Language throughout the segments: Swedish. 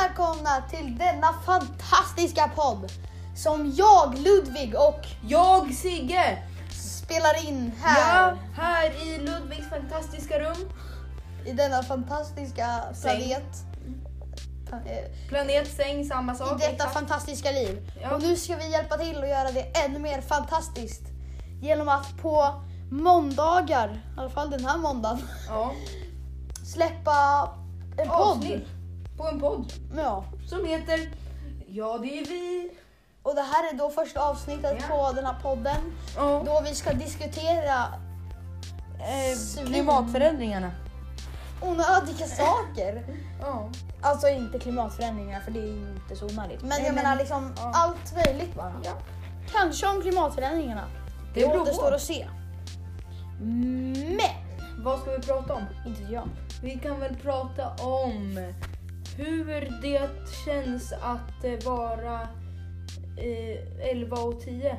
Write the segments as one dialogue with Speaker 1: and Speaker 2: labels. Speaker 1: välkomna till denna fantastiska podd som jag, Ludvig och
Speaker 2: Jag, Sigge!
Speaker 1: spelar in här
Speaker 2: Ja, här i Ludvigs fantastiska rum.
Speaker 1: i denna fantastiska
Speaker 2: Säng.
Speaker 1: planet. Eh,
Speaker 2: Planet, säng, samma sak.
Speaker 1: I detta
Speaker 2: exakt.
Speaker 1: fantastiska liv.
Speaker 2: Ja.
Speaker 1: Och nu ska vi hjälpa till och göra det ännu mer fantastiskt genom att på måndagar, i alla fall den här måndagen,
Speaker 2: ja.
Speaker 1: släppa en podd.
Speaker 2: Avsnitt på en podd
Speaker 1: Ja.
Speaker 2: som heter Ja, det är vi.
Speaker 1: Och det här är då första avsnittet
Speaker 2: Ja.
Speaker 1: på den här podden
Speaker 2: Ja. Eh,
Speaker 1: då vi ska diskutera Svin.
Speaker 2: klimatförändringarna.
Speaker 1: onödiga saker.
Speaker 2: Ja.
Speaker 3: Alltså inte klimatförändringar för det är ju inte så onödigt.
Speaker 1: Men
Speaker 2: Nej,
Speaker 1: jag
Speaker 2: men-
Speaker 1: menar liksom
Speaker 2: ja.
Speaker 1: allt möjligt bara.
Speaker 2: ja.
Speaker 3: Kanske om klimatförändringarna.
Speaker 2: Det
Speaker 3: Det,
Speaker 2: beror på.
Speaker 3: återstår att se. Men,
Speaker 2: Vad ska vi prata om?
Speaker 3: inte jag.
Speaker 2: Vi kan väl prata om hur det känns att eh, vara eh, 11 och 10.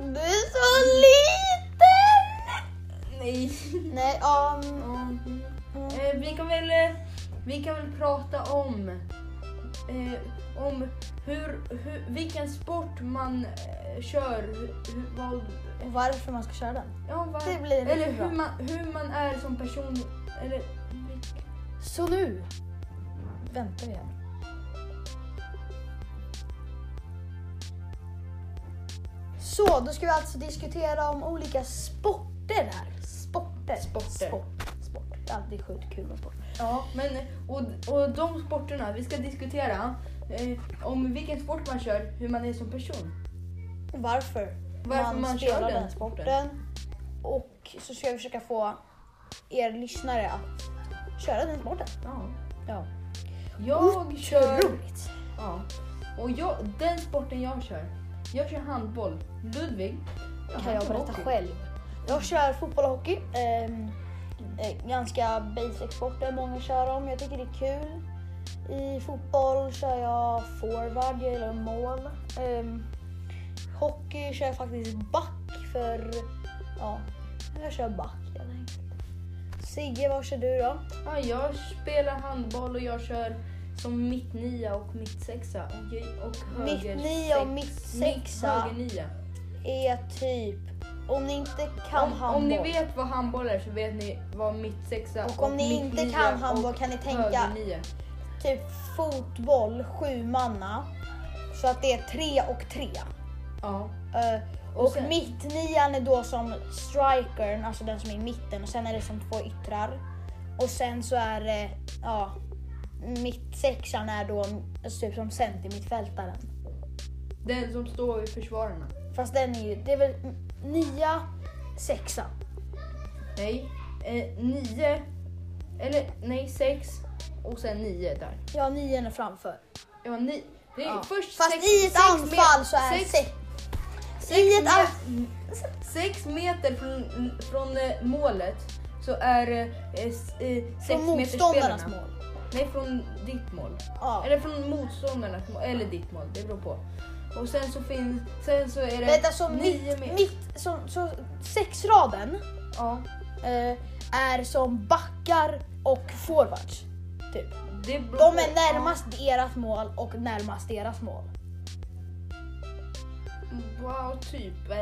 Speaker 1: Du är så liten!
Speaker 2: Nej.
Speaker 1: Nej, ja.
Speaker 3: um,
Speaker 1: mm,
Speaker 2: Ja.
Speaker 1: mm.
Speaker 2: Eh, vi, kan väl, eh, vi kan väl prata om, eh, om hur, hur, vilken sport man eh, kör. Hur, hur, vad,
Speaker 1: Och varför man ska köra den.
Speaker 2: ja, vad,
Speaker 1: Det blir
Speaker 2: eller
Speaker 1: riktigt bra.
Speaker 2: hur man, hur man är som person. Eller,
Speaker 3: Så nu väntar vi här.
Speaker 1: Så, då ska vi alltså diskutera om olika sporter här. Sporter.
Speaker 2: Sporter.
Speaker 1: Sport. sport. Det är alltid sjukt kul med sport.
Speaker 2: ja, men, och, och de sporterna, vi ska diskutera eh, om vilken sport man kör, hur man är som person.
Speaker 1: Varför?
Speaker 2: Varför man, kör den, sporten.
Speaker 1: sporten. Och så ska vi försöka få er lyssnare att köra den sporten.
Speaker 2: Ja.
Speaker 3: Ja.
Speaker 2: Jag kör...
Speaker 3: Roligt.
Speaker 2: Ja. Och jag, den sporten jag kör, jag kör handboll. Ludvig,
Speaker 3: Kan jag
Speaker 2: han kör
Speaker 3: berätta
Speaker 2: hockey.
Speaker 3: själv?
Speaker 1: Jag kör fotboll och hockey. Ehm, eh, ganska basic sporter många kör dem. Jag tycker det är kul. I fotboll kör jag forward, jag gillar mål. Ehm, hockey kör jag faktiskt back för... Ja, jag kör back helt enkelt. Sigge, vad kör du då?
Speaker 2: Ja, jag spelar handboll och jag kör som mitt nia och mitt sexa och, ge- och
Speaker 1: Mitt
Speaker 2: höger
Speaker 1: nia och
Speaker 2: sex-
Speaker 1: mitt
Speaker 2: Mitt
Speaker 1: sexa
Speaker 2: höger nia.
Speaker 1: är typ... Om ni inte kan
Speaker 2: Om, om
Speaker 1: handboll
Speaker 2: ni vet vad handboll är så vet ni vad mitt sexa
Speaker 1: och om ni
Speaker 2: mitt
Speaker 1: inte
Speaker 2: nia
Speaker 1: kan handboll
Speaker 2: och
Speaker 1: kan ni tänka
Speaker 2: höger nia.
Speaker 1: typ fotboll, sju manna. Så att det är tre och tre.
Speaker 2: Ja.
Speaker 1: Eh,
Speaker 2: Och
Speaker 1: och
Speaker 2: sen-
Speaker 1: mittnian är då som strikern, alltså den som är i mitten. Och sen är det som två yttrar. Och sen så är det, ja, mittsexan är då alltså typ som center mittfältaren.
Speaker 2: Den som står vid försvararna.
Speaker 1: Fast den är ju, det är väl n- nia, sexa.
Speaker 2: Nej, eh, nio, eller nej sex och sen nio där.
Speaker 1: Ja, nian är framför.
Speaker 2: Ja, ni, det är
Speaker 1: Ja.
Speaker 2: först
Speaker 1: Fast
Speaker 2: sex,
Speaker 1: i ett
Speaker 2: sex
Speaker 1: anfall
Speaker 2: met-
Speaker 1: så är
Speaker 2: sex,
Speaker 1: sex.
Speaker 2: sex,
Speaker 1: I ett
Speaker 2: met-
Speaker 1: anfall.
Speaker 2: sex meter från, från eh, målet så är eh, s- eh, sex
Speaker 1: Från
Speaker 2: meter
Speaker 1: motståndarnas
Speaker 2: spelarna.
Speaker 1: mål.
Speaker 2: Nej, från ditt mål.
Speaker 1: Ja.
Speaker 2: Eller från motståndarnas mål, eller ditt mål, det beror på. Och sen så finns, sen så är det
Speaker 1: Vänta, så
Speaker 2: nio
Speaker 1: mitt,
Speaker 2: meter.
Speaker 1: mitt så, så sexraden
Speaker 2: Ja,
Speaker 1: eh, är som backar och forwards. Typ.
Speaker 2: det beror
Speaker 1: De
Speaker 2: på.
Speaker 1: är närmast ert mål och närmast deras mål.
Speaker 2: Ja, wow, typ. eh.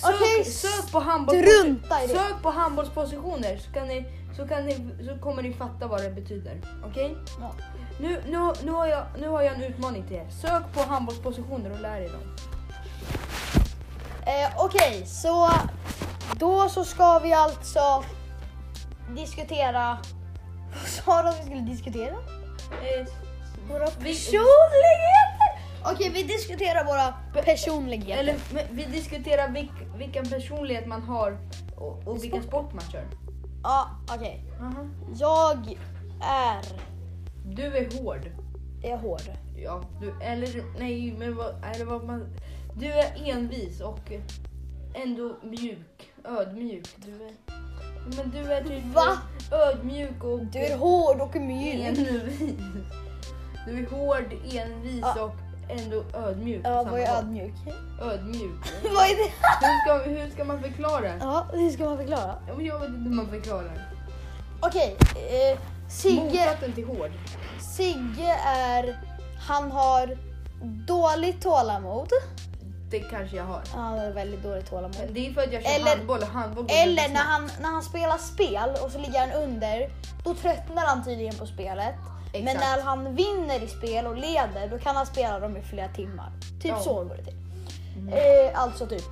Speaker 2: Sök,
Speaker 1: Okej,
Speaker 2: sök på handbollspositioner.
Speaker 1: Strunta i det.
Speaker 2: Sök på handbollspositioner så, kan ni, så, kan ni, så kommer ni fatta vad det betyder. Okej?
Speaker 1: Ja.
Speaker 2: Nu, nu, nu, har jag, nu har jag en utmaning till er. Sök på handbollspositioner och lär er dem.
Speaker 1: Eh, Okej, så då så ska vi alltså diskutera... Vad sa du att vi skulle diskutera?
Speaker 2: Eh,
Speaker 1: Våra
Speaker 2: Vi-
Speaker 1: personligheter! Okej, vi diskuterar våra personligheter.
Speaker 2: eller, men vi diskuterar vilk, vilken personlighet man har och, och vilken sport man kör.
Speaker 1: Ja, okej. Jag är...
Speaker 2: Du är hård.
Speaker 1: Är jag hård?
Speaker 2: Ja, du, eller nej, men vad, eller vad man... Du är envis och ändå mjuk, ödmjuk. Du är, men du är typ
Speaker 1: Va?
Speaker 2: ödmjuk och
Speaker 1: Du är hård och
Speaker 2: Mm.
Speaker 1: mjuk.
Speaker 2: envis. Du är hård, envis
Speaker 1: Ja.
Speaker 2: och ändå ödmjuk. på
Speaker 1: Ja,
Speaker 2: samma
Speaker 1: vad är
Speaker 2: gång.
Speaker 1: ödmjuk?
Speaker 2: ödmjuk?
Speaker 1: vad är det?
Speaker 2: Hur ska, hur ska man förklara?
Speaker 1: Ja, hur ska man förklara?
Speaker 2: Ja, men Jag vet inte hur man förklarar.
Speaker 1: Okej, eh, Sigge,
Speaker 3: Motsatsen till hård.
Speaker 1: Sigge är... Han har dåligt tålamod.
Speaker 2: Det kanske jag har.
Speaker 1: Han har väldigt dåligt tålamod.
Speaker 2: Men det är för att jag kör
Speaker 1: Eller-
Speaker 2: handboll och handboll går
Speaker 1: Eller
Speaker 2: väldigt
Speaker 1: när
Speaker 2: snabbt.
Speaker 1: han, när han spelar spel och så ligger han under, då tröttnar han tydligen på spelet. Men
Speaker 2: Exakt.
Speaker 1: när han vinner i spel och leder, då kan han spela dem i flera timmar. Typ
Speaker 2: Ja. Mm.
Speaker 1: så går det till. Eh, alltså typ,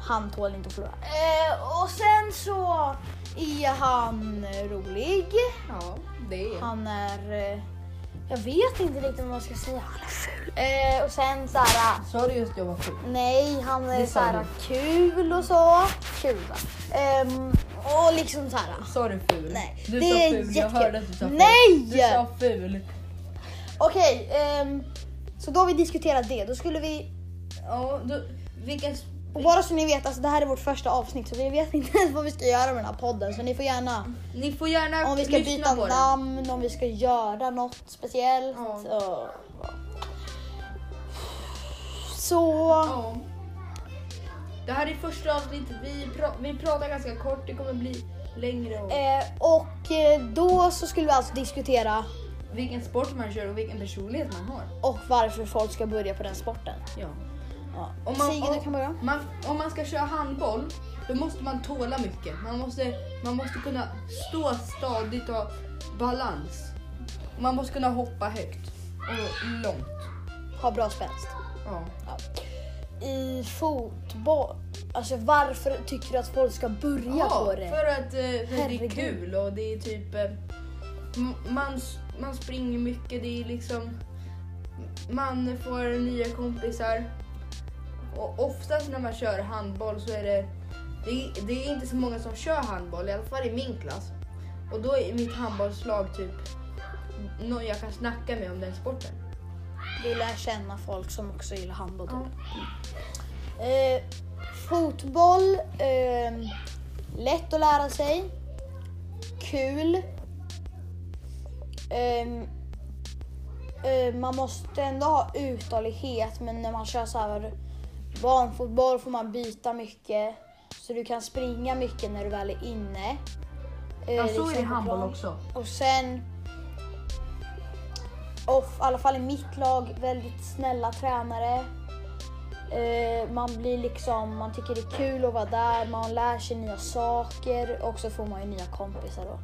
Speaker 1: han tål inte att förlora. Eh, och sen så är han rolig.
Speaker 2: Ja, det är
Speaker 1: Han är... Eh, jag vet inte riktigt vad man ska säga. Han är ful. Eh, och sen så här...
Speaker 2: Sa du just jag var sjuk?
Speaker 1: Nej, han är
Speaker 2: Det
Speaker 1: så
Speaker 2: sa
Speaker 1: här kul och så. Kul va? Ehm, och liksom så här.
Speaker 2: Sa du ful?
Speaker 1: Nej,
Speaker 2: Du
Speaker 1: det
Speaker 2: sa
Speaker 1: är
Speaker 2: ful, jag
Speaker 1: jättekul.
Speaker 2: hörde att du sa ful.
Speaker 1: Nej!
Speaker 2: Du sa ful.
Speaker 1: Okej, ehm, så då har vi diskuterat det. Då skulle vi...
Speaker 2: Ja, då, vilken... s-
Speaker 1: Och bara så ni vet, alltså det här är vårt första avsnitt så vi vet inte ens vad vi ska göra med den här podden. Så ni får gärna,
Speaker 2: Ni får gärna
Speaker 1: om vi ska
Speaker 2: lyssna
Speaker 1: byta
Speaker 2: på den.
Speaker 1: namn, om vi ska göra något speciellt.
Speaker 2: Ja.
Speaker 1: Och, så...
Speaker 2: Ja. Det här är första avsnittet. Vi, pra- vi pratar ganska kort. Det kommer bli längre. Och
Speaker 1: Eh, och eh, då så skulle vi alltså diskutera
Speaker 2: vilken sport man kör och vilken personlighet man har.
Speaker 1: och varför folk ska börja på den sporten.
Speaker 2: Ja.
Speaker 1: Ja.
Speaker 2: Om man-
Speaker 1: Sigge, du kan börja.
Speaker 2: Man, om man ska köra handboll då måste man tåla mycket. Man måste, man måste kunna stå stadigt och ha balans. Man måste kunna hoppa högt och långt.
Speaker 1: Ha bra spänst.
Speaker 2: Ja.
Speaker 1: I fotboll, alltså varför tycker du att folk ska börja på det?
Speaker 2: För att eh, för det är
Speaker 1: Herregud.
Speaker 2: kul och det är typ... eh, m- Man, s- man springer mycket, det är liksom... Man får nya kompisar. Och oftast när man kör handboll så är det... Det är, det är inte så många som kör handboll, i alla fall i min klass. Och då är mitt handbollslag typ någon jag kan snacka med om den sporten.
Speaker 1: Du lär känna folk som också gillar handboll. typ. Eh, fotboll, ehm, lätt att lära sig, kul. Ehm, eh, man måste ändå ha uthållighet men när man kör så här barnfotboll får man byta mycket. Så du kan springa mycket när du väl är inne. Eh, liksom på plan.
Speaker 2: också.
Speaker 1: Och sen... Och i alla fall i mitt lag, väldigt snälla tränare. Eh, man blir liksom, man tycker det är kul att vara där, man lär sig nya saker och så får man ju nya kompisar då.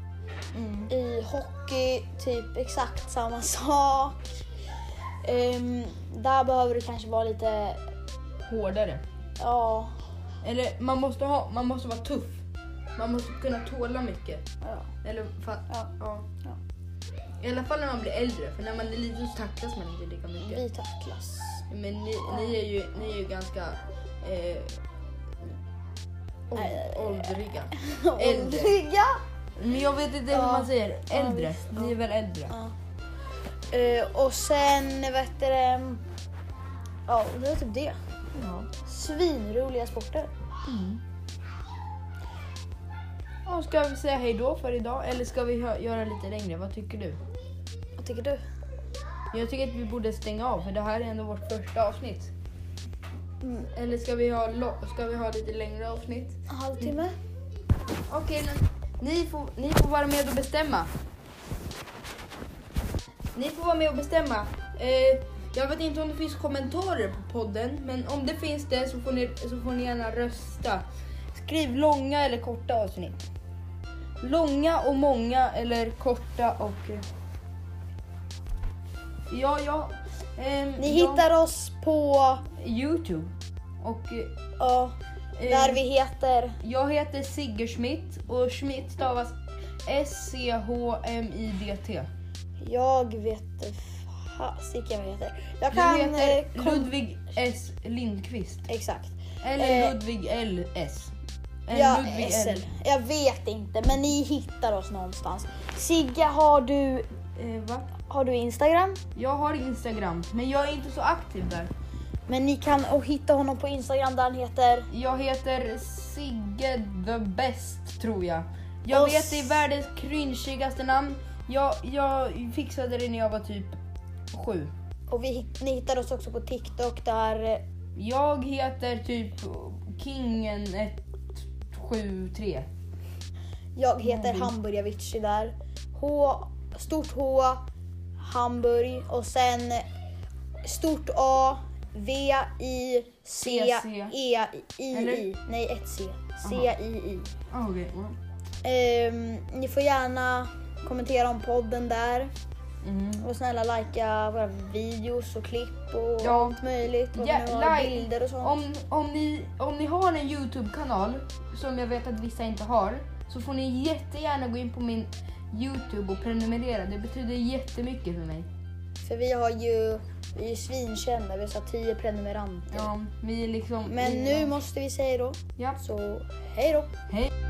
Speaker 1: I hockey, typ exakt samma sak. Ehm, där behöver du kanske vara lite,
Speaker 2: Hårdare.
Speaker 1: ja,
Speaker 2: Eller man måste, ha, man måste vara tuff. Man måste kunna tåla mycket.
Speaker 1: ja.
Speaker 2: Eller fa-
Speaker 1: Ja.
Speaker 2: ja.
Speaker 1: Ja.
Speaker 2: I alla fall när man blir äldre, för när man är liten så tacklas man inte lika mycket.
Speaker 1: vi tacklas.
Speaker 2: Men ni, ni, är ju, ni är ju ganska eh, åld-
Speaker 1: Äh.
Speaker 2: åldriga. Äldre.
Speaker 1: Åldriga.
Speaker 2: Men jag vet inte
Speaker 1: hur man
Speaker 2: säger.
Speaker 1: Äldre. Ni
Speaker 2: är väl äldre?
Speaker 1: Ja. Eh, och sen, vad heter det? Ja, det var typ det.
Speaker 2: Ja.
Speaker 1: Svinroliga sporter.
Speaker 2: Och ska vi säga hej då för idag eller ska vi hö- göra lite längre? Vad tycker du?
Speaker 1: Vad tycker du?
Speaker 2: Jag tycker att vi borde stänga av för det här är ändå vårt första avsnitt.
Speaker 1: Mm.
Speaker 2: Eller ska vi ha, lo- ska vi ha lite längre avsnitt?
Speaker 1: En halvtimme?
Speaker 2: Okej, nu- ni får, ni får vara med och bestämma. Ni får vara med och bestämma. Eh, jag vet inte om det finns kommentarer på podden, men om det finns det så får ni, så får ni gärna rösta. Skriv långa eller korta avsnitt. Långa och många eller korta och... eh, Ja, ja. ehm,
Speaker 1: Ni
Speaker 2: ja,
Speaker 1: hittar oss på,
Speaker 2: Youtube. Och... eh,
Speaker 1: ja, där
Speaker 2: eh,
Speaker 1: vi heter.
Speaker 2: jag heter Sigge Schmidt och Schmidt stavas S-C-H-M-I-D-T.
Speaker 1: Jag vet fasiken vad jag heter. Jag
Speaker 2: Du
Speaker 1: kan...
Speaker 2: heter
Speaker 1: eh, kom-
Speaker 2: Ludvig S Lindqvist.
Speaker 1: Exakt.
Speaker 2: Eller
Speaker 1: Eh,
Speaker 2: Ludvig L S. Eller
Speaker 1: Ja,
Speaker 2: eh, Ludvig L.
Speaker 1: SL. Jag vet inte, men ni hittar oss någonstans. Sigge, har du,
Speaker 2: Eh, va?
Speaker 1: har du Instagram?
Speaker 2: Jag har Instagram, men jag är inte så aktiv där.
Speaker 1: Men ni kan och hitta honom på Instagram där han heter...
Speaker 2: Jag heter Sigge the Best, tror jag. Jag
Speaker 1: Och
Speaker 2: vet, det
Speaker 1: s-
Speaker 2: är världens cringigaste namn. Jag, jag fixade det när jag var typ sju.
Speaker 1: Och vi, hitt- ni hittar oss också på TikTok där... eh,
Speaker 2: Jag heter typ Kingen 173.
Speaker 1: Jag heter Hamburgervitchi där. H stort H, Hamburg och sen stort A, V, I, C,
Speaker 2: C, C.
Speaker 1: E, I,
Speaker 2: Eller?
Speaker 1: I. Nej, ett C. C,
Speaker 2: Aha.
Speaker 1: I, I.
Speaker 2: Ah, Okej. ja.
Speaker 1: Ehm, ni får gärna kommentera om podden där
Speaker 2: Mm.
Speaker 1: och snälla likea våra videos och klipp och
Speaker 2: Ja.
Speaker 1: allt möjligt. Och
Speaker 2: Ja,
Speaker 1: vi har
Speaker 2: like-
Speaker 1: bilder och sånt.
Speaker 2: Om, om, ni, om ni har en Youtube-kanal, som jag vet att vissa inte har, så får ni jättegärna gå in på min Youtube och prenumerera. Det betyder jättemycket för mig.
Speaker 1: För vi har ju, vi är ju svinkända, vi har så här 10 prenumeranter.
Speaker 2: Ja, vi är liksom...
Speaker 1: Men
Speaker 2: vi-
Speaker 1: nu måste vi säga då,
Speaker 2: Ja,
Speaker 1: så hej då!
Speaker 2: hej!